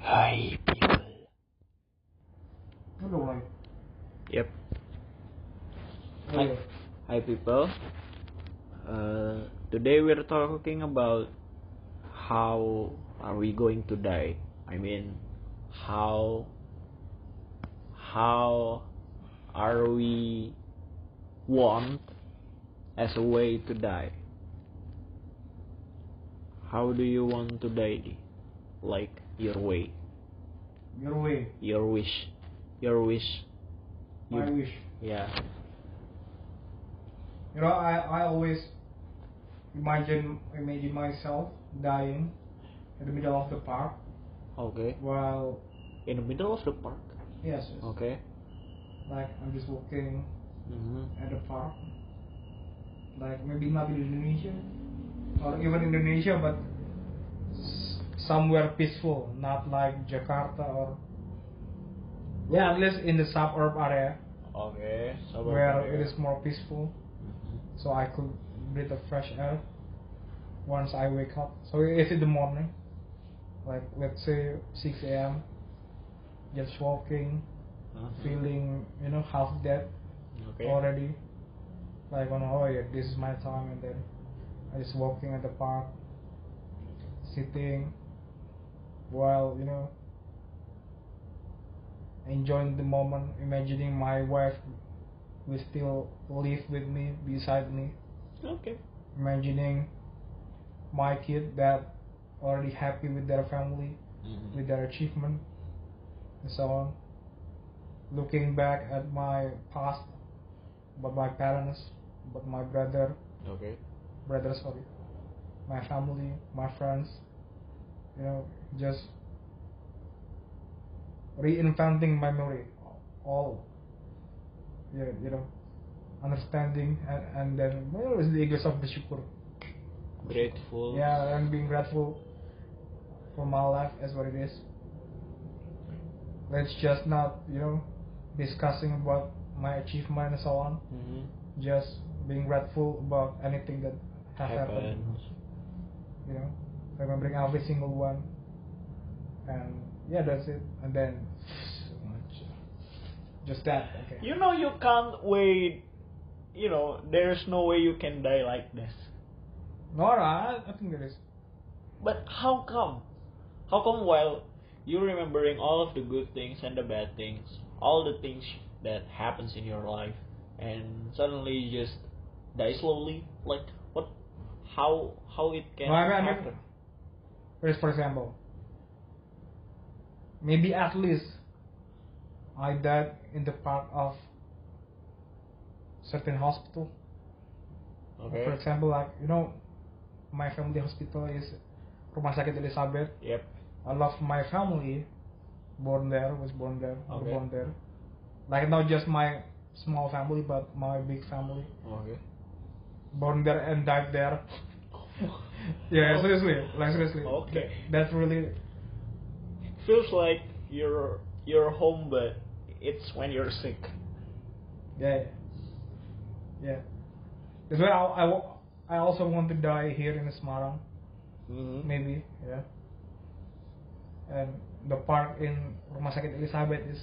Hi, people. Wonder why. Yep. Hi, Anyway, hi people. Uh, today we're talking about how are we going to die? I mean, how how are we want as a way to die? How do you want to die? Di? Like your way, your way, your wish, your wish. my You- wish. Yeah. You know, I, I always imagine imagine myself dying in the middle of the park Okay. while In the middle of the park. yes, yes Okay. like I'm just walking Mm-hmm. at the park. Like maybe not in Indonesia or even Indonesia, but s- somewhere peaceful, not like Jakarta or yeah, at least in the suburb area Okay. So where it is more peaceful. so I could breathe the fresh air once I wake up. So it's in the morning, like let's say 6 a.m. Just walking, Uh-huh. feeling you know half dead Mm-hmm. Okay. already. Like on oh yeah, this is my time, and then I just walking at the park, sitting, while you know enjoying the moment, imagining my wife will still live with me, beside me Okay. imagining my kid that already happy with their family, Mm-hmm. with their achievement, and so on. Looking back at my past, but my parents, but my brother, Okay. brother sorry, my family, my friends, you know, just reinventing memory, all, yeah, you know, understanding and, and then where is the eagles of the Shukur? Grateful. Yeah, I'm being grateful for my life as what it is. Let's just not, you know, discussing about my achievement and so on. Mm-hmm. Just being grateful about anything that has happened. Happens. You know, remembering every single one. And yeah, that's it. And then just that. Okay. You know you can't wait. You know there's no way you can die like this. Nora, I think there is. But how come? How come while you remembering all of the good things and the bad things, all the things that happens in your life, and suddenly you just die slowly? Like what? How how it can No, I mean- I mean- happen? There is, for example, maybe at least I died in the part of certain hospital. For Okay. example, like you know, my family hospital is Rumah Sakit Elizabeth. Yep. I love my family, born there, was born there, were Okay. born there. Like not just my small family, but my big family, Okay. born there and died there. yeah, seriously, like seriously. Oh. Okay. That's really Feels like you're you're home, but it's when you're sick. Yeah. Yeah. That's why I, I, wa- I also want to die here in Semarang. Mm-hmm. Maybe. Yeah. And the park in Rumah Sakit Elizabeth is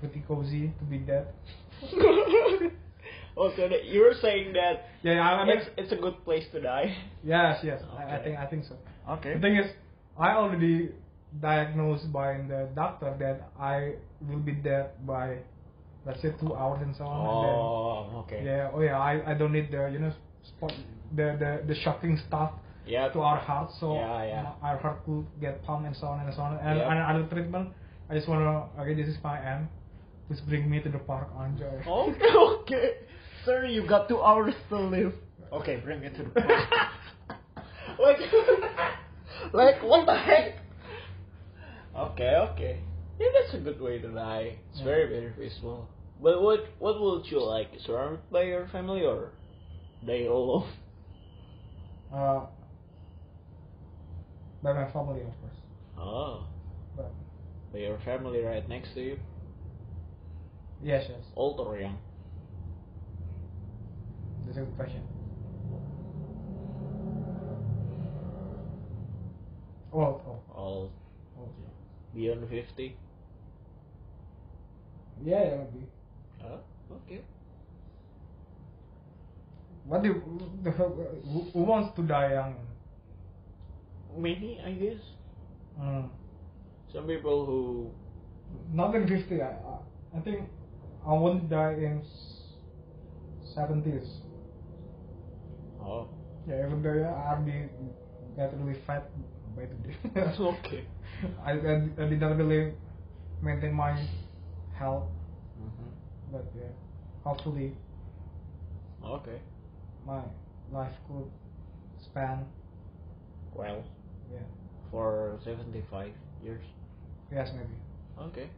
pretty cozy to be dead. oh, so that you're saying that Yeah, yeah, I, I mean, it's, it's a good place to die. yes, yes. I, I Okay. think I think so. Okay. The thing is, I already diagnosed by the doctor that I will be dead by, let's say, two hours and so on. And then- Oh, okay. Yeah. Oh yeah. I, I don't need the you know spot, the, the the shocking stuff Yep. to our heart, so Yeah, yeah. our heart could get pumped and so on and so on. And, Yeah. and other treatment, I just wanna okay, this is my end. Please bring me to the park, Anjay. Okay, okay. Sir, you got two hours to live. Okay, bring it to the point. like, like, what the heck? Okay, okay. Yeah, that's a good way to die. It's Yeah. very, very peaceful. But what, what would you like? Surrounded by your family or die alone? Uh, by my family, of course. Oh, But by your family right next to you, yes, yes. old or young? That's a good question. Oh, oh, Old. oh. Yeah. beyond 50? Yeah, yeah, maybe. Huh? Okay. What do you- the hell- who, who wants to die young? Many, I guess. Mm. Some people who. Not in fifty. I, I I think I won't die in seventies. Oh. Yeah, even though yeah, I'll be got really fat by today. That's okay. I, I I did not really maintain my health, Mm-hmm. but yeah, hopefully Okay. my life could span. Well, Yeah. for 75 years. Yes, maybe. Okay.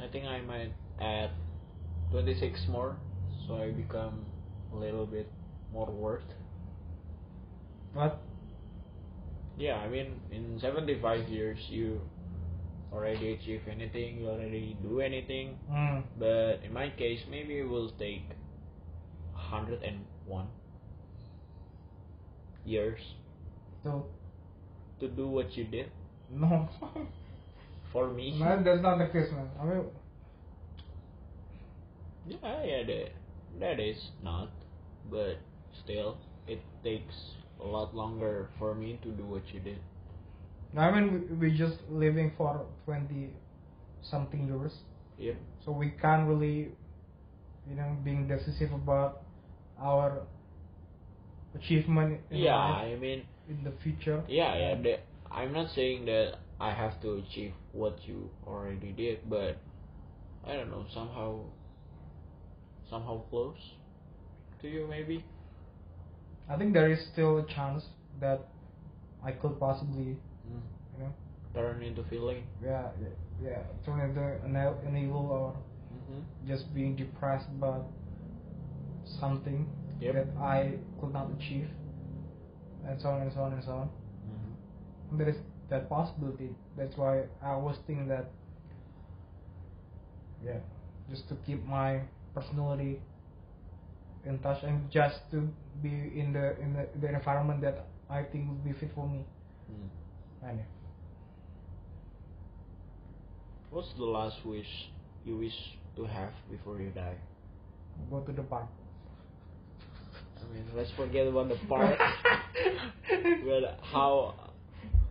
I think I might add 26 more so I become a little bit more worth. But Yeah, I mean, in 75 years, you already achieve anything, you already do anything. mm, But in my case, maybe it will take 101 years so to do what you did no. for me. man, that's not the case, man. I mean, Yeah, yeah, that, that is not. But still, it takes a lot longer for me to do what you did. I mean, we, we just living for twenty something years, Yeah. so we can't really, you know, being decisive about our achievement in Yeah, life I mean, in the future. yeah, yeah. That, I'm not saying that I have to achieve what you already did, but I don't know, somehow, somehow close to you, maybe. I think there is still a chance that I could possibly, Mm. you know, Turn into feeling. yeah, yeah, turn into an, el- an evil or Mm-hmm. just being depressed about something Yep. that I could not achieve, and so on and so on and so on. Mm-hmm. There is that possibility. That's why I was thinking that, yeah, just to keep my personality in touch and just to be in the in the, the environment that I think would be fit for me. Mm. And yeah. What's the last wish you wish to have before you die? go to the park. I mean, let's forget about the park. but how?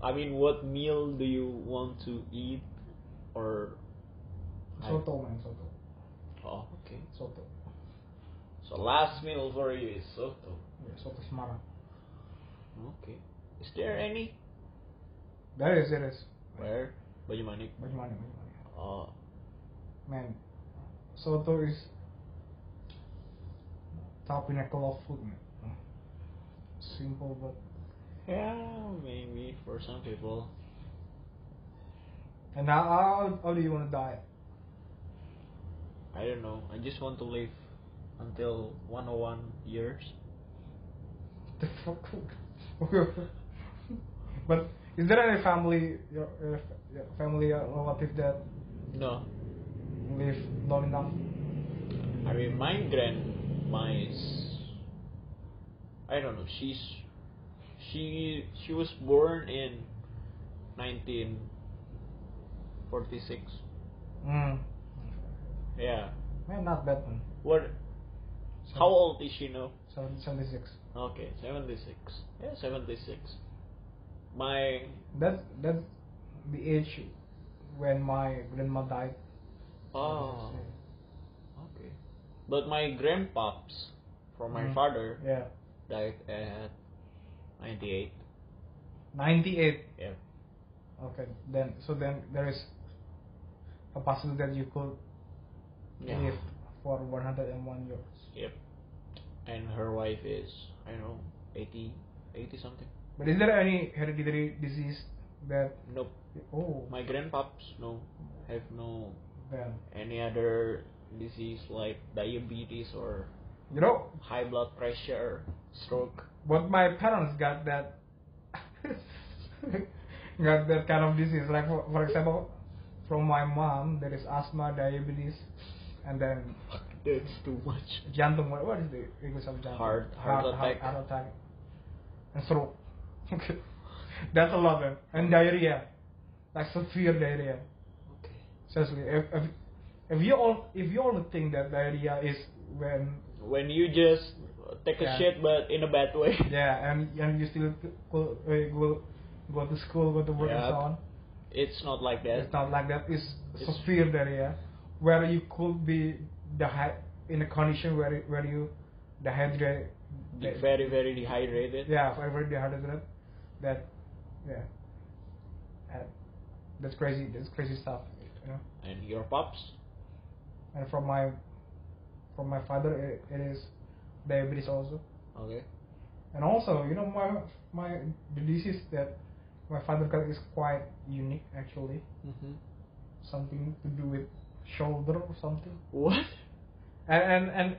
I mean, what meal do you want to eat? Or Soto man, soto, oh, okay. soto, So last meal for you is soto. yeah, soto Semarang. Okay. Is there any? There is, there is. Where? Banyumanik. Bagaimana, bagaimana? Oh. Man, soto is top pinnacle of food, man. Simple but Yeah, maybe for some people. And now, how, how do you want to die? I don't know. I just want to live until 101 years. The fuck? but is there any family, your, your, your family or relative that No, live long enough? I mean, my grandma is. I don't know. She's. She she was born in 1946. Mm. Yeah. Man, not bad, man. What? How old is she now? Seven- 76. Okay, 76. Yeah, 76. My. That's, that's the age when my grandma died. Oh. Okay. But my grandpaps, from my Mm. father, Yeah. died at 98. 98. Yeah. Okay, then so then there is a possibility that you could Yeah. live for 101 years. Yep. And her wife is, I don't know, 80, 80 something. But is there any hereditary disease that Nope. oh My grandpaps no have no man, any other disease like diabetes or you know high blood pressure, stroke. but my parents got that got that kind of disease like for, for example from my mom there is asthma diabetes and then That's too much. jantung what, what is the English of jantung Heart- heart attack. heart, attack and stroke that's a lot man and diarrhea like severe diarrhea. Okay. Seriously, if, if, if you all if you all think that diarrhea is when When you just take a Yeah. shit but in a bad way. yeah and and you still go uh, go, go to school go to work and Yeah. so on, It's not like that. it's not like that. It's, It's- severe diarrhea where you could be the in a condition where it- where you dehydrate. Be very very dehydrated. Yeah, I read the hardest rap. That, yeah. Uh, that's crazy. That's crazy stuff. You know. And your pops. And from my, from my father, it, it is diabetes also. Okay. And also, you know, my my the disease that my father got is quite unique actually. Mm-hmm. Something to do with shoulder or something. What? And and and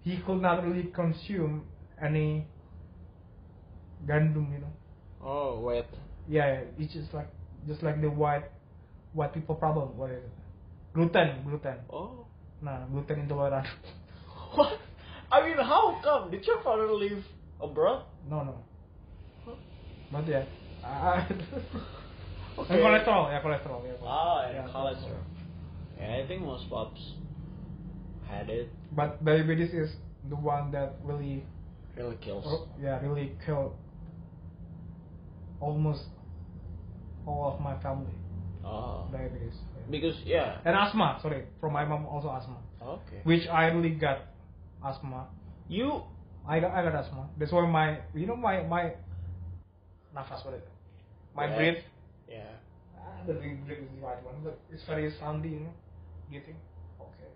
he could not really consume any gandum, you know. Oh wait. Yeah, it's just like just like the white white people problem. What is it? Gluten, gluten. Oh. Nah, gluten intolerant. What? I mean, how come? Did your father live abroad? No, no. But yeah. I- Okay. And cholesterol, yeah, cholesterol, yeah. Ah, and yeah, cholesterol. Yeah, I think most pops had it. But diabetes is the one that really, Really kills. oh, yeah, really killed almost all of my family. Ah. Diabetes. yeah. Because yeah. and asthma, sorry, from my mom also asthma, Okay. which I really got asthma You. I got, I got asthma. That's why my, you know, my, my, nafas, what is it? My Yeah. breath. Yeah. Ah, the big breath is the right one, but it's very soundy, you know, getting. Okay.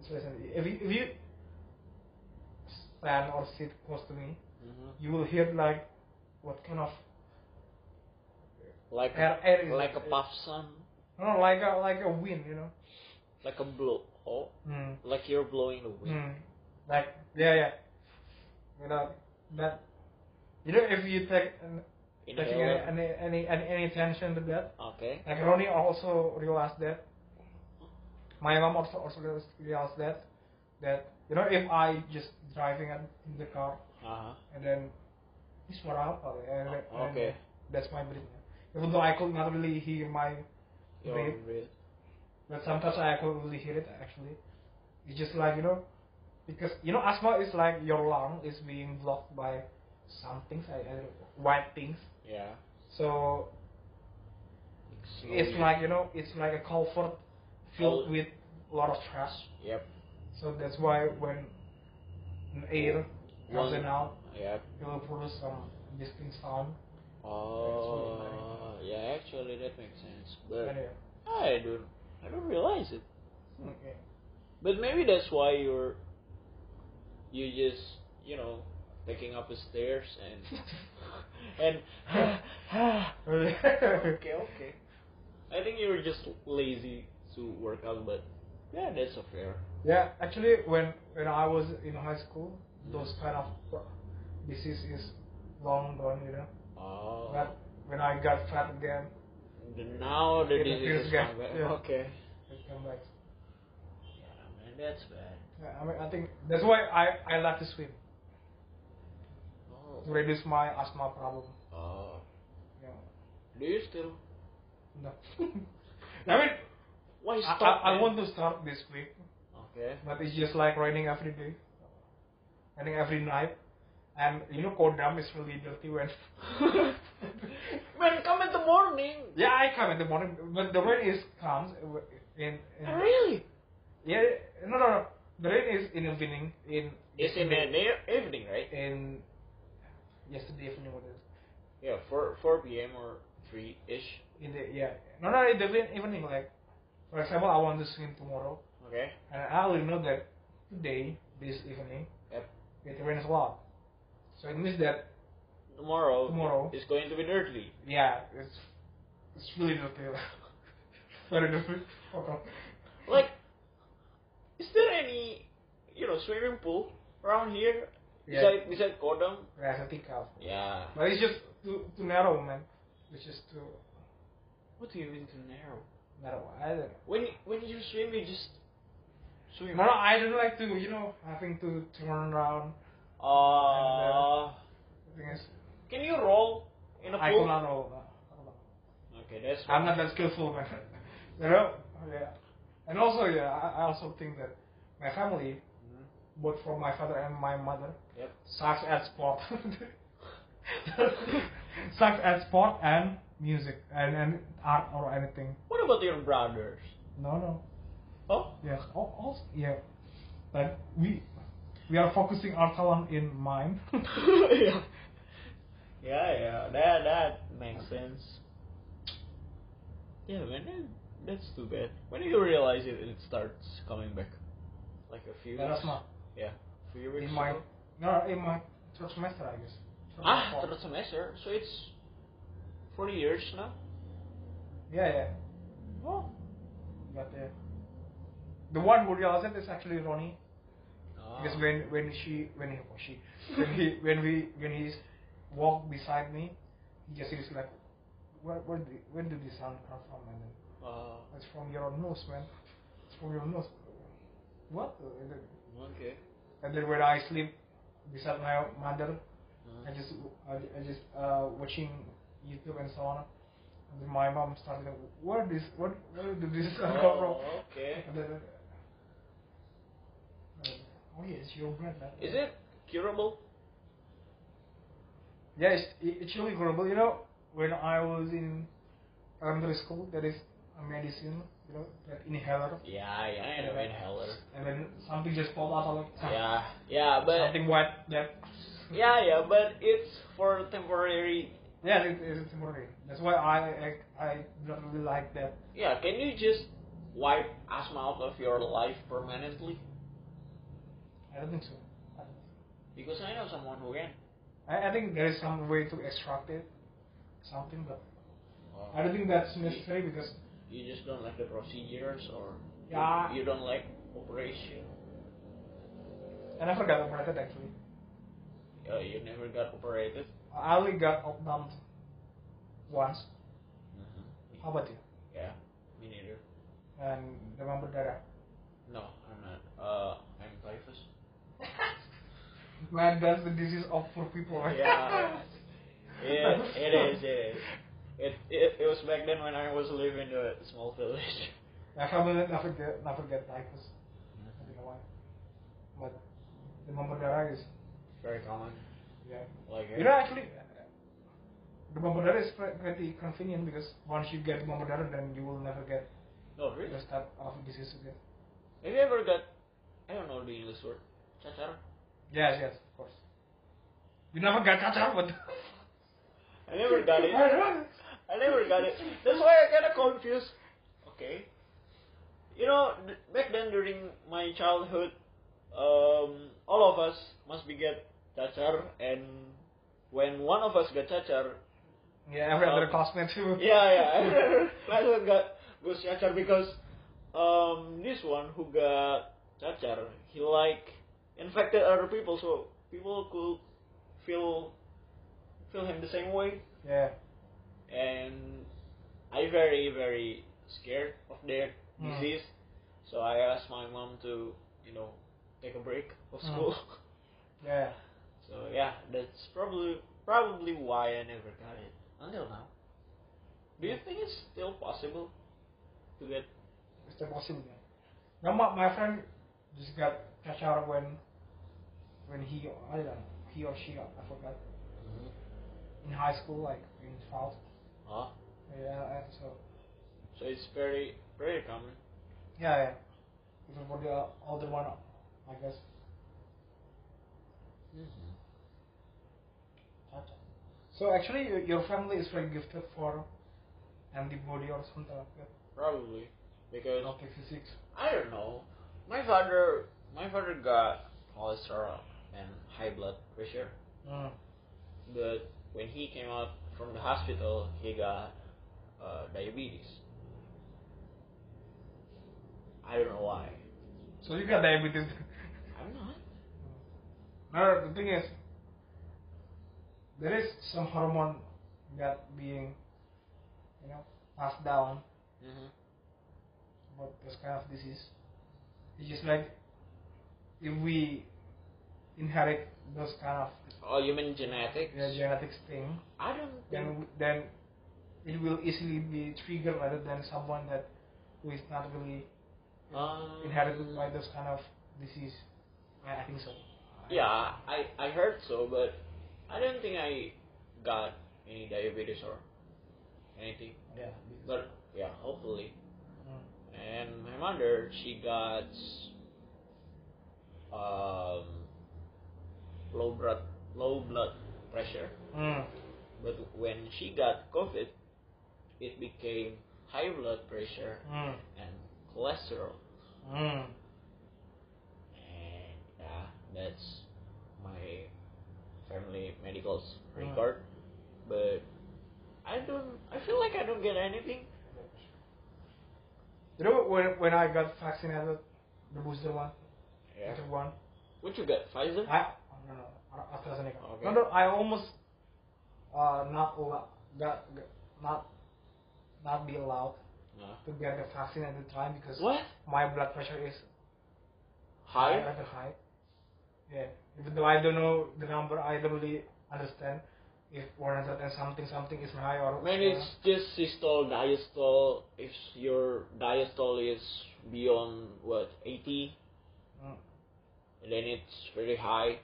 It's very soundy. If you, if you stand or sit close to me, Mm-hmm. you will hear like, what kind of, Like Air- air is- like a puff sun, I don't know, like a, like a wind, you know. like a blow. Oh, Mm. like you're blowing the wind. Mm. Like, yeah, yeah. You know, that, you know, if you take, an- taking any, Inhaler. any, any, any, any attention to that, Okay. Like Ronnie also realized that. My mom also also realized- realized that that you know if I just driving at, in the car Uh huh. and then it's for alcohol and, and Okay. that's my breathing. Even though I could not really hear my Your breath, breath. but sometimes I could really hear it actually. It's just like you know because you know asthma is like your lung is being blocked by some things, I, I don't know, white things. Yeah. So it's Slowly. like you know it's like a comfort filled Oh. with a lot of trash Yep. so that's why when an air comes One- in out Yep. it will produce some distinct uh, sound Oh, yeah. Actually, that makes sense. But anyway I don't. I don't realize it. uh, okay. But maybe that's why you're. You just you know taking up the stairs and and okay okay. I think you were just lazy to work out, but yeah, that's a fair. yeah actually when when i was in high school Mm. those kind of pro- disease is long gone you know Oh. but when i got fat again The, now the It disease appears is ga- coming back. yeah. Okay. it came back Yeah, man, that's bad. Yeah, I, mean, I think that's why i i like to swim to Oh. reduce my asthma problem oh. you know. Do you still? No. I mean, Why I, stop? I, I man? want to start this week, Okay. but it's just like raining every day, raining every night, and you know, Kodam is really dirty when. man, come in the morning. yeah, I come in the morning, but the rain is comes in. in Oh, Really? yeah, no, no, no. The rain is in evening in. It's in the near- evening, right? in yesterday evening was it? Yeah, four four p.m. or three ish. In the yeah, no, no, in the evening- evening like, for example, I want to swim tomorrow, Okay. and I will know that today, this evening, Yep. it rains a lot. So it means that Tomorrow. Tomorrow. It's going to be dirty. yeah, it's it's really dirty. Very dirty. Like, is there any, you know, swimming pool around here yeah, beside beside Kodam? yeah, it's a thick house. Yeah. But it's just too too narrow, man. It's just too What do you mean too narrow? narrow. I don't know. When when you swim, you just swim. No, no, I don't like to, you know, having to turn around. Uh, The thing is, can you roll in a I pool? cannot roll. uh, I don't know. Yes. I'm not that skillful, man. you know? Yeah. And also, yeah, I, I also think that my family, Mhm. both from my father and my mother, Yep. sucks at sport. sucks at sport and music and, and art or anything. What about your brothers? No, no. Oh. Yes. al- Also, yeah. Like we, we are focusing our talent in mime. yeah. Yeah, yeah. That that makes sense. Yeah, man. That, that's too bad. When do you realize it, it starts coming back? Like a few. Last weeks- month. Yeah. A few weeks. in my ago? no in my third semester I guess. Third Ah, or third fourth. semester. So it's forty years now. Yeah, yeah. Oh. But uh, the one who realized it is actually Ronnie. Because when when she when he or she when he when we when he's walked beside me, he just is like, where where did, where did this sound come from? And then Uh, it's from your nose, man. It's from your nose. What? And then, okay. and then when I sleep beside my mother, Uh, I just I, I just uh, watching YouTube and so on. And then my mom started, where this what where did this sound come from? Oh, okay. And then, uh, oh yeah, it's your bread, man. Is it curable? Yeah, it's, it- it's really horrible. You know, when I was in elementary school, there is a medicine, you know, that inhaler. Yeah, yeah. I know inhaler. And then something just popped out of it. Yeah, yeah, but something white. That. yeah, yeah, but it's for temporary. Yeah, it, it's temporary. That's why I, I I don't really like that. Yeah, can you just wipe asthma out of your life permanently? I don't think so. Because I know someone who can. I, I think there is some way to extract it, something, but I don't think that's necessary because You just don't like the procedures, or you- Yeah. you, don't like operation. I never got operated actually. Uh, you never got operated. I only got dumped once. Oh. How about you? Mm-hmm. Yeah, me neither. And remember that? No, I'm not. Uh, I'm typhus. uh, Man, that's the disease of poor people. right? Yeah. Yeah, it is. It is. It, it it was back then when I was living in a small village. My family never get never get typhus. I don't know why. But the Mamadara is Very common. yeah. Like You know actually the Mamadara is pre- pretty convenient because once you get Mamadara then you will never get Oh, really? this type of disease again. Have you ever got, I don't know the English word, cacar? Yes, yes, of course. You never got cacar, but I never got it. I know. I never got it. That's why I got confused. Okay. You know, th- back then during my childhood, um, all of us must be get cacar, and when one of us got cacar, Yeah, every other classmate too. yeah, Oh. yeah, Classmate got goes cacar because um, this one who got cacar, he like infected other people, so people could feel feel him the same way. Yeah. and I very very scared of their Mm. disease. So I asked my mom to you know take a break of Mm. school. Yeah. so yeah, that's probably probably why I never got it until now. Do you think it's still possible to get? It's the possible. Now my, my friend just got cacar when when he I don't know, he or she I forgot. In high school, like in twelfth. Huh? Yeah, and so So it's very very common. yeah, yeah. Even for the uh, older one I guess. Cacar. So actually y- your family is very gifted for antibody or something like that. Probably because Not the physics. I don't know. My father my father got cholesterol and high blood pressure. Mm. but when he came out from the hospital, he got uh, diabetes. I don't know why. So you got diabetes. I'm not. no, the thing is, there is some hormone that being, you know, passed down Mm-hmm. about this kind of disease. It's just like if we inherit those kind of Oh, you mean genetics? you know, genetics thing, I don't think. then then it will easily be triggered rather than someone that who is not really Um, inherited by those kind of disease. I, I think so. Yeah, I I heard so, but I don't think I got any diabetes or anything. Yeah. But yeah, hopefully. Mm. And my mother, she got um low blood low blood pressure. Mm. But when she got COVID, it became high blood pressure Mm. and cholesterol. Mm. And yeah, that's my family medicals Mm. record. But I don't. I feel like I don't get anything. You know when when I got vaccinated, the booster one, Yeah. the one. What you got? Pfizer. I oh, no no A- AstraZeneca. Okay. No no I almost uh not allo- got, got not not be allowed No. to get the vaccine at the time because What? my blood pressure is High. rather high. Yeah. Even though I don't know the number, I don't really understand if 100 and something something is high or. Man, it's just systole, diastole. If your diastole is beyond what 80, Mm, then it's very high.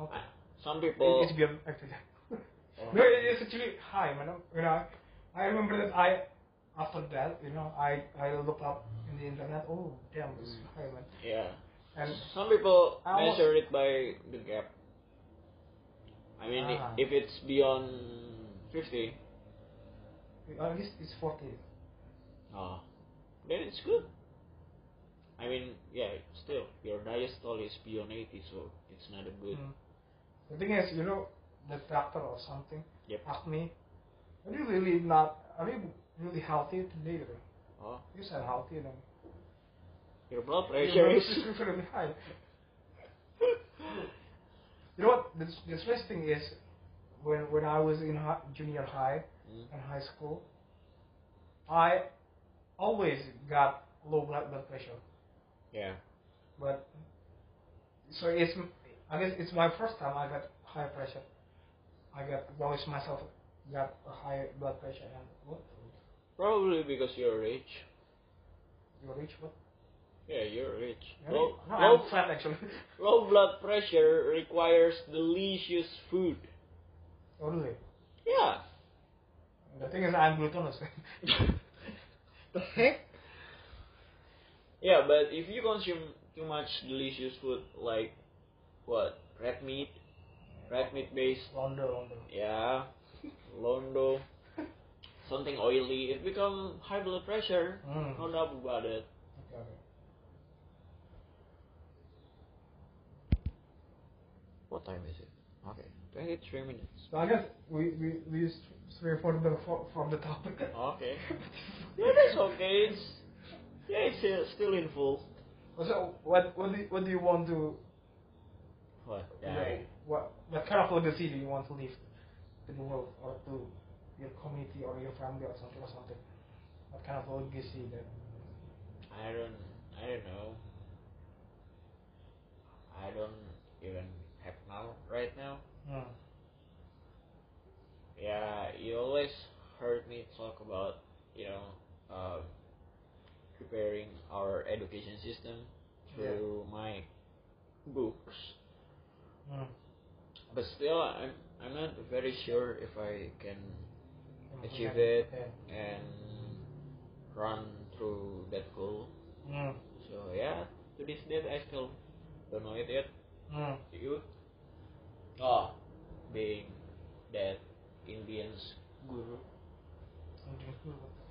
okay. I- Some It- people. It's beyond actually. Oh. no, it- it's actually high, man. You know, I remember that I, after that, you know, I I looked up in the internet. Oh, damn, it's Mm. high, man. Yeah. And Some people I almost- measure it by the gap. I mean, i- Ah. if it's beyond 50, at least it's 40. oh, then it's good. I mean, yeah, still, your diastole is beyond 80, so it's not a good. Mm. The thing is, you know, the doctor or something Yep. asked me, "Are you really not? Are you really healthy today?" Oh, You said healthy, you know. your blood Your pressure blood is. pressure is really high. You know what? The, the strange thing is, when when I was in hi- junior high Mm. and high school, I always got low blood blood pressure. Yeah. But so it's I guess it's my first time I got high pressure. I got always myself got a high blood pressure and oh, what? Probably because you're rich. You reach what? Yeah, you're rich. You're Low, rich? no, low, I'm fat actually. low blood pressure requires delicious food. oh really? Yeah. The thing is I'm glutinous. the heck? Yeah, but if you consume too much delicious food, like what red meat, red meat based, Londo, londo. yeah, londo, something oily, it become high blood pressure. Mm. No doubt about it. Okay, okay. What time is it? Okay, twenty-three minutes. So I guess we we we s- stray from the fro- from the topic. Oh, Okay. Yeah, that's okay. It's yeah, it's uh, still in full. So what what do you, what do you want to? What? What what kind of legacy do you want to leave to the world or to your community or your family or something or something? What kind of legacy that? I don't I don't know. I don't even have now right now. Hmm. Yeah, you always heard me talk about, you know, um, preparing our education system through my books. Hmm. But still I'm I'm not very sure if I can Hmm. achieve it Okay. and run through that goal. Hmm. So yeah, to this date I still don't know it yet. Hmm. youth oh being that Indians guru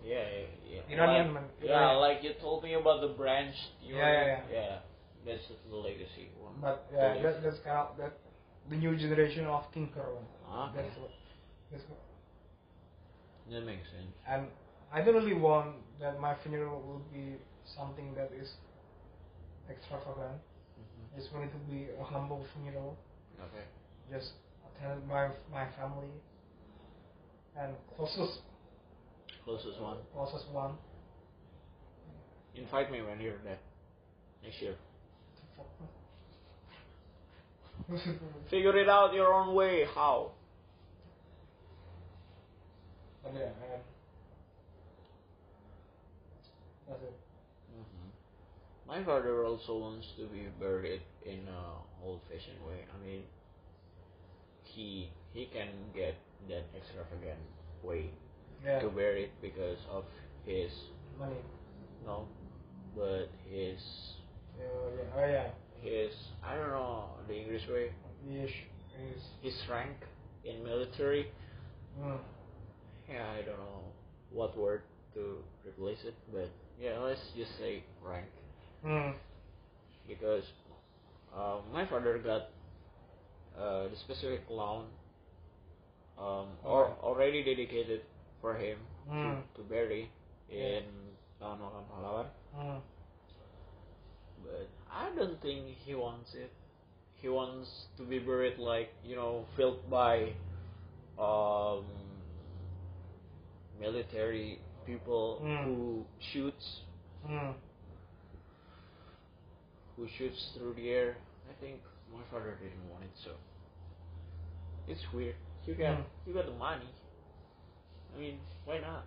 yeah yeah, yeah. like, Iranian man. yeah Iranian. like you told me about the branch you Yeah, yeah, yeah. that's the legacy one But yeah, Belief. that, that's kind of that the new generation of thinker. Ah, okay. That's what. That's what that makes sense and I don't really want that my funeral will be something that is extravagant. hmm It's going to be a humble funeral, okay just attended by my family and closest closest one closest one. invite me when you're there next year figure it out your own way how but yeah, um, Mm-hmm. My father also wants to be buried in a old-fashioned way. I mean, he he can get that extravagant way Yeah. to bury it because of his Money. no, but his Yeah, yeah. Oh yeah. his I don't know the English way Yes. Yes. his rank in military. Mm. Yeah, I don't know what word to replace it, but yeah, let's just say rank. Mm. because uh, my father got uh, the specific loan um, or Okay. already dedicated for him Mm. to, to bury Yeah. in Taman Makam Pahlawan. Mm. But I don't think he wants it. He wants to be buried like you know filled by um, military people Mm. who shoots Mm. who shoots through the air. I think my father didn't want it, so it's weird. You got Mm. you got the money. I mean, why not?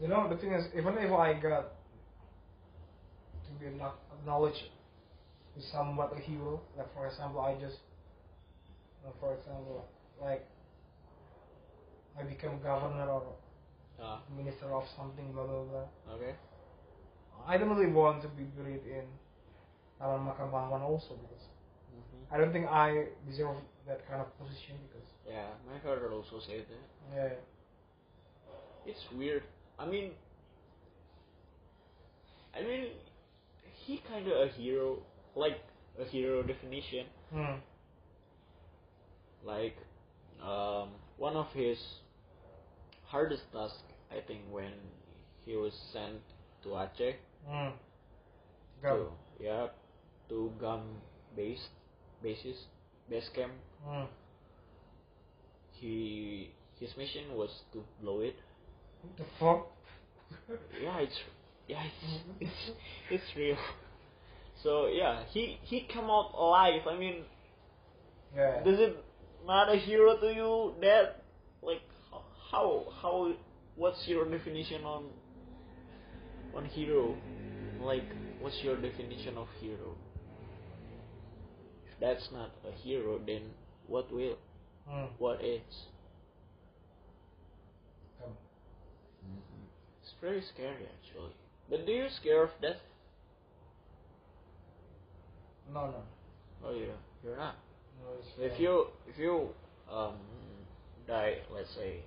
You know the thing is, even if I got to be acknow- acknowledged as somewhat a hero, like for example, I just, uh, for example, like I become governor or Uh, minister of something, blah blah blah. okay. I don't really want to be buried in Taman Makam Pahlawan also because hmm I don't think I deserve that kind of position because Yeah, my father also said that. yeah, It's weird. I mean, I mean, he kind of a hero, like a hero definition. mm. Like, um, one of his hardest task, I think, when he was sent to Aceh, Mm. So Go. yeah, to gum base basis base camp. Mm. He his mission was to blow it. What the fuck? Yeah, it's yeah, it's it's, it's real. So yeah, he he come out alive. I mean, yeah. does it not a hero to you that like h- how how what's your definition on on hero? Like what's your definition of hero? If that's not a hero, then what will Mm. what is? Um, Go. It's very scary actually. But do you scare of death? No, no. Oh yeah, you're not. no it's If wrong. you if you um die, let's say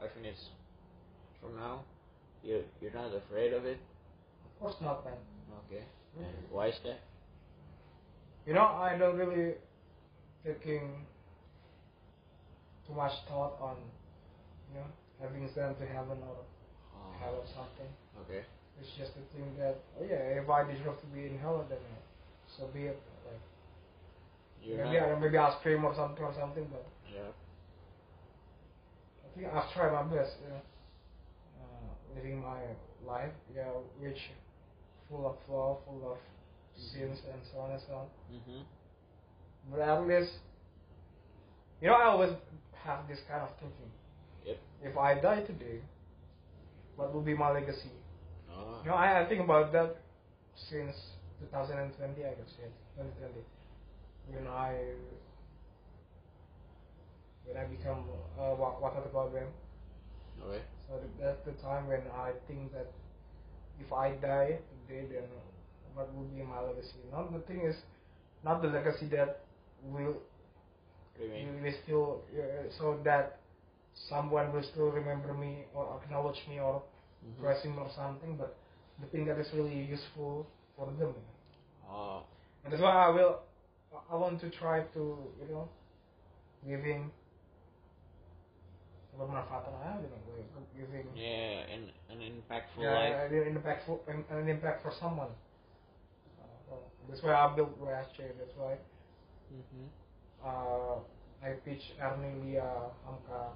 five minutes from now, you you're not afraid of it. Of course not, man. Okay. And why is that? You know, I don't really taking too much thought on, you know, having sent to heaven or Ah. hell or something. okay. It's just the thing that, oh yeah, if I deserve to be in hell, then uh, so be it. Like, You're maybe, not. I, maybe I'll scream or something or something, but Yeah. I think I've tried my best, you know, uh, living my life, yeah, which full of flaw, full of sins and so on and so on. Mm-hmm. But at least, you know, I always have this kind of thinking. Yep. If I die today, what will be my legacy? Oh. You know, I, I think about that since 2020, I guess, yeah, 2020, when I when I become uh, wa- water problem. Okay. So th- that's the time when I think that if I die today, then what will be my legacy? Not the thing is, not the legacy that will Remain. will will still uh, so that someone will still remember me or acknowledge me or Mhm. bless him or something, but the thing that is really useful for them. Oh. And that's why I will, I want to try to, you know, giving bermanfaat lah, you know, giving Yeah. An an impactful yeah, life. an, an impact for an, an impact for someone. Uh, that's why I built Ratchet. That's why Mm-hmm. uh, I pitch Arnelia, Hamka,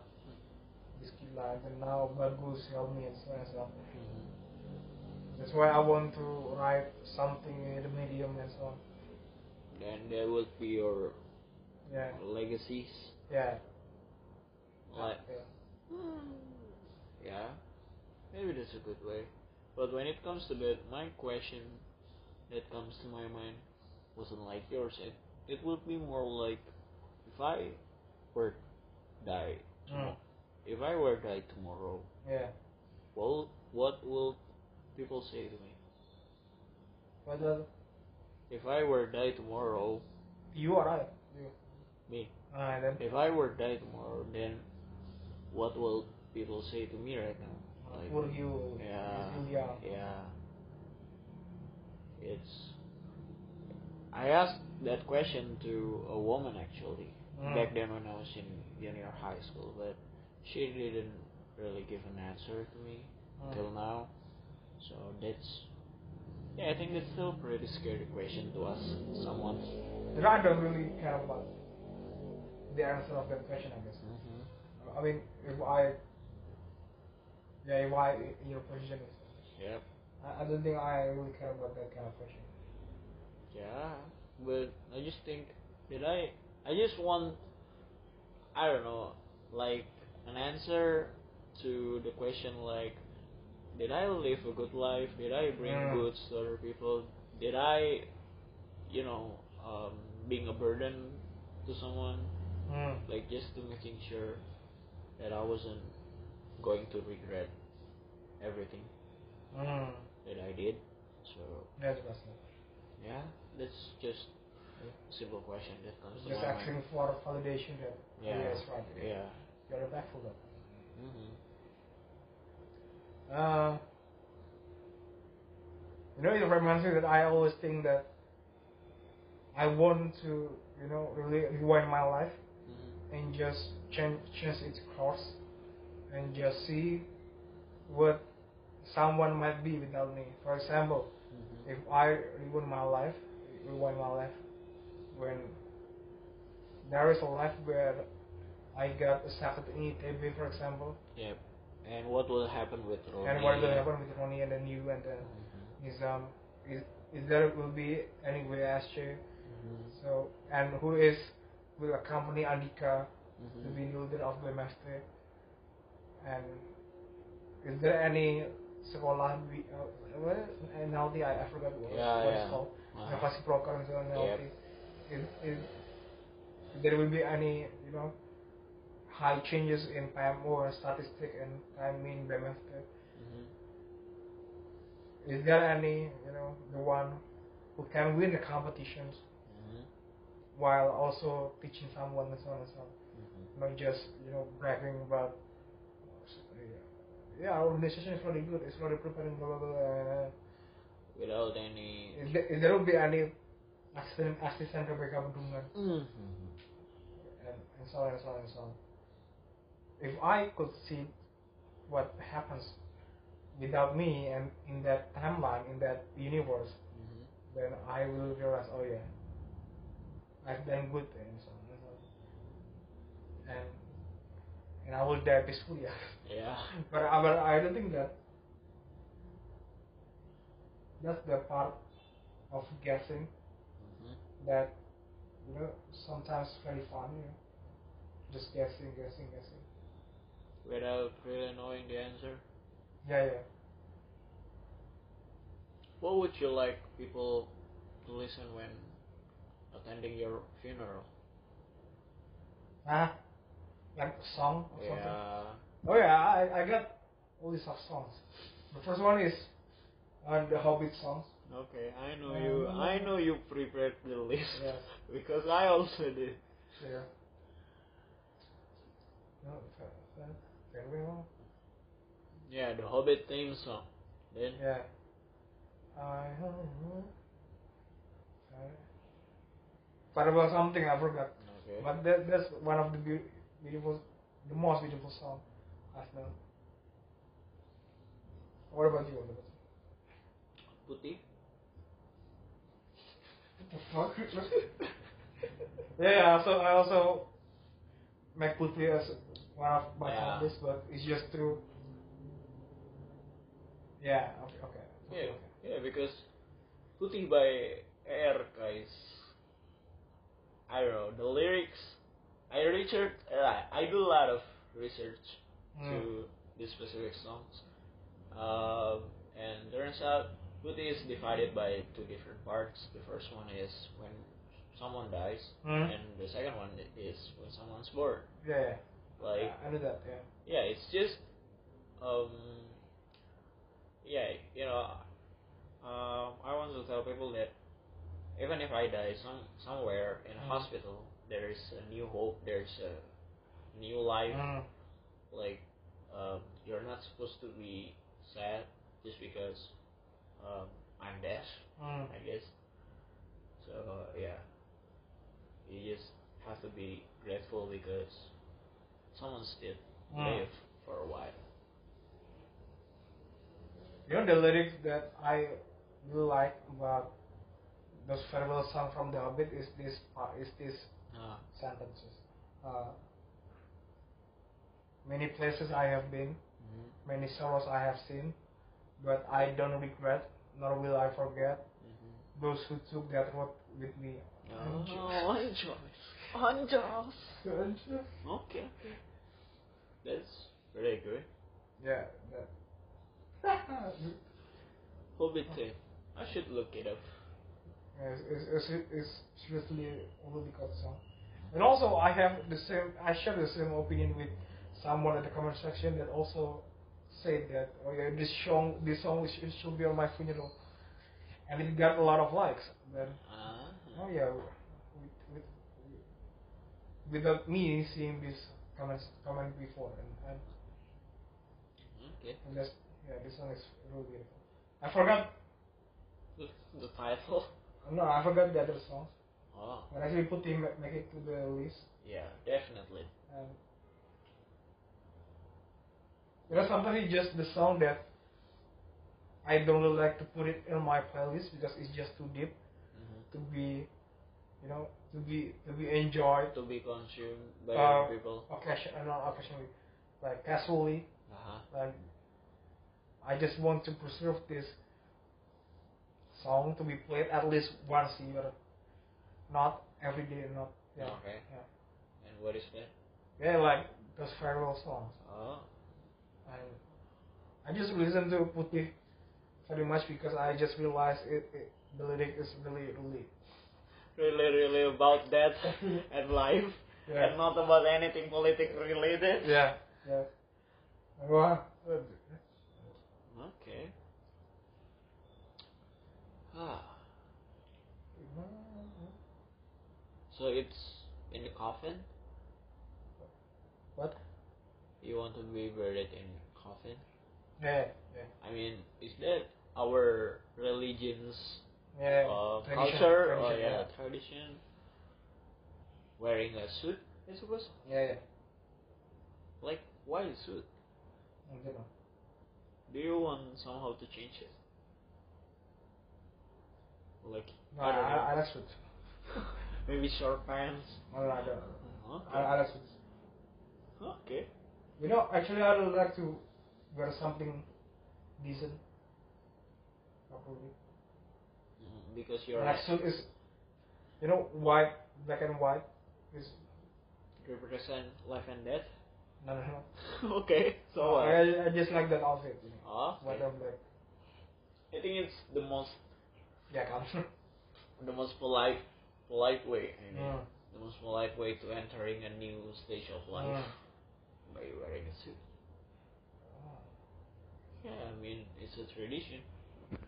Biskila, uh, and now Bagus, Helmi, and so on and so on. Mm-hmm. That's why I want to write something in the medium and so on. Then there will be your Yeah, legacies. yeah. Like. yeah. Mm, yeah. Maybe that's a good way. But when it comes to that, my question that comes to my mind wasn't like yours. It it would be more like if I were die Mm. if I were die tomorrow, Yeah. well what will people say to me? What does If I were die tomorrow you or I? You. me. Ah, then. If I were die tomorrow then what will people say to me right now? Like Were you? Yeah. You young. Yeah. It's. I asked that question to a woman actually Mm. back then when I was in junior high school, but she didn't really give an answer to me Mm. till now. So that's. Yeah, I think that's still a pretty scary question to ask someone. You know, I don't really care about the answer of that question. I guess. Mm-hmm. I mean, if I. Yeah, if I in your position is. Yep. I, I don't think I really care about that kind of question. Yeah, but I just think did I? I just want I don't know, like an answer to the question like, did I live a good life? Did I bring Yeah. goods to other people? Did I, you know, um, being a burden to someone? Mm. Like just to making sure that I wasn't going to regret everything Mm. that I did. So That's awesome. yeah, that's just a simple question that comes to Just my asking mind. for validation that Yeah, yeah, that's right. yeah. You're a backful dog. Mm-hmm. Um, you know, it reminds me that I always think that I want to, you know, really rewind my life Mm-hmm. and just change change its course and just see what someone might be without me. For example, Mm-hmm. if I rewind my life, rewind my life, when there is a life where I got accepted in ITB, for example, Yep. And what will happen with Ronnie? and what will happen with Ronnie and then you and then is um is, is there will be anyway Ashley Mm-hmm. so and who is will accompany Andika to be Mm-hmm. leader of the master and is there any sekolah we uh, what is NLT I, I forgot what, Yeah, what yeah. it's called Uh-huh. Navasi Program so NLT is, is there will be any you know high changes in PMO and statistic and I mean by master Mm-hmm. is there any you know the one who can win the competitions Mm-hmm. while also teaching someone and so on and so on Mm-hmm. not just you know bragging about yeah our organization is really good it's really preparing blah blah blah Without any. is there, is there will be any assistant assistant to become Dungan Mm-hmm. and, and so on and so on and so on if I could see what happens without me and in that timeline in that universe Mm-hmm. then I will realize, oh yeah, I've done good things, and so on. and and I will die peacefully. Yeah. but I but I don't think that that's the part of guessing Mm-hmm. that you know sometimes very fun, you know, just guessing, guessing, guessing. Without really knowing the answer. Yeah, yeah. What would you like people to listen when attending your funeral? Huh? Like a song or something. Yeah. Oh yeah, I, I got all these songs. The first one is uh, the Hobbit songs. Okay, I know Um, you. I know you prepared the list Yes. because I also did. Yeah. No, fa- fa- farewell. Yeah, the Hobbit theme song. Then Yeah. I don't Farewell something I forgot. okay. But that, that's one of the beau beautiful, the most beautiful song I've known. What about you? What about you? Putih. What the fuck? yeah, yeah, also I also make Putri as one of my Yeah. yeah. but it's just through. Yeah. Okay. Okay. yeah, okay, yeah, because Putih by Air guys. I don't know the lyrics. I research. Uh, I do a lot of research Mm. to these specific songs, um, and turns out Buti is divided by two different parts. The first one is when someone dies, Mhm. and the second one is when someone's born. Yeah, yeah. Like, I, I know that. Yeah. yeah, it's just, um, yeah, you know, um, I want to tell people that even if I die some somewhere in a Mm. hospital, there is a new hope, there's a new life. Mm. Like, um, you're not supposed to be sad just because um, I'm deaf, Mm. I guess. So yeah, you just have to be grateful because someone still Mm. live for a while. You know the lyrics that I really like about those farewell song from The Hobbit is this part is this Uh, sentences. Uh, many places I have been, mm-hmm. many sorrows I have seen, but I don't regret, nor will I forget Mm-hmm. those who took that road with me. Oh, Angels. Angels. Okay. That's pretty good. Yeah. That. Hobbit. eh, I should look it up. Yeah, it's, it's, it's, it's seriously a really good song. And also, I have the same, I share the same opinion with someone in the comment section that also said that, oh yeah, this song, this song is- it should be on my funeral. And it got a lot of likes. Then, Ah. oh yeah, with, with, without me seeing this comment, comment before. And, and, Okay. and just, yeah, this song is really beautiful. I forgot, The, the title. no, I forgot the other songs. Oh. But actually put him, make it to the list. Yeah, definitely. Um, you know, sometimes it's just the song that I don't really like to put it in my playlist because it's just too deep Mm-hmm. to be, you know, to be to be enjoyed To be consumed by uh, people. occasion, uh, not occasionally, like casually. Uh huh. Like I just want to preserve this song to be played at least once a year, not every day, not yeah, Okay. yeah, And what is that? yeah, like those farewell songs. Oh. I I just listen to Putih very much because I just realized it, it the lyric is really really Really, really about that and life. Yeah. And not about anything politic related. yeah yeah. Well, Okay. Ah. So it's in the coffin? what? You want to be buried in coffin? Yeah yeah I mean, is that our religion's yeah. uh, Tradition, culture or tradition, yeah, tradition? Wearing a suit, I suppose? yeah yeah. Like, why a suit? I don't know. Do you want somehow to change it? Like, No, I I don't I, know. I like suits. Maybe short pants? No, no, I don't. Okay. I, I like suits. okay. You know, actually, I would like to wear something decent. Probably. Mm, Because you're Like suit is, you know, white, black and white is represent life and death. no no no. okay, so uh, I, I just like that outfit. You know. ah, What okay. I'm like, I think it's the most yeah, come. the most polite polite way. I mean, Mm. the most polite way to entering a new stage of life Mm. by wearing a suit. Yeah, I mean it's a tradition.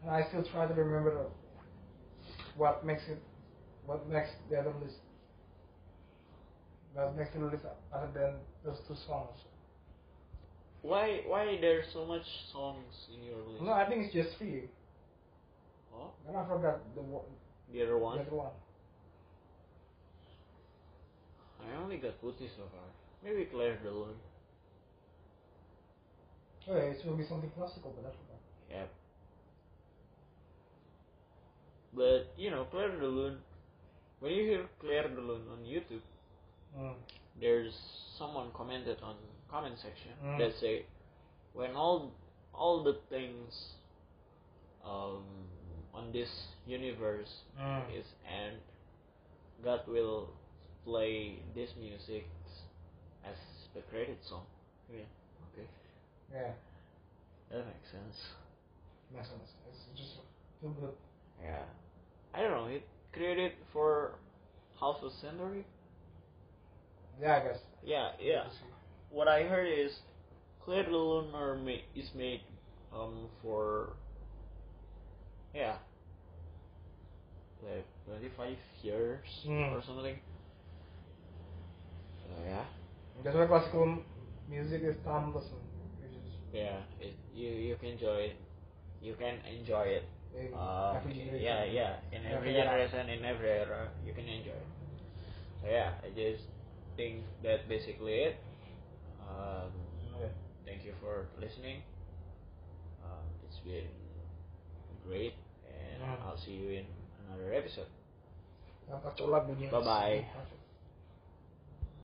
And I still try to remember what makes it, what makes the other list, what makes the list other than those two songs. Why why there's so much songs in your list? No, I think it's just three. Oh, Then I forgot the, wo- the other the one. other one. I only got Putih so far. Maybe Claire de Lune. Oh, yeah, it will be something classical, but I forgot. Yeah. But you know, Claire de Lune. When you hear Claire de Lune on YouTube, Mm. there's someone commented on comment section Mm. that say, when all all the things um, on this universe Mm. is end, God will play this music as the credit song. Yeah. Okay. Yeah, That makes sense. makes sense. It's just Feel good. Yeah. I don't know. It created for half a century. Yeah, I guess. Yeah, yeah. What I heard is clear the lunar ma- is made um for yeah like 25 years Hmm. or something. So yeah, That's why classical m- music is timeless. man. It's just yeah. It, you you can enjoy it. You can enjoy it. in Uh, every generation. yeah, yeah. In every era. generation, in every era, you can enjoy it. So yeah, I just think that basically it. Um, Okay. thank you for listening. Um, it's been great, and Mm. I'll see you in another episode. Yang kacau lah dunia. Bye-bye. Kacau.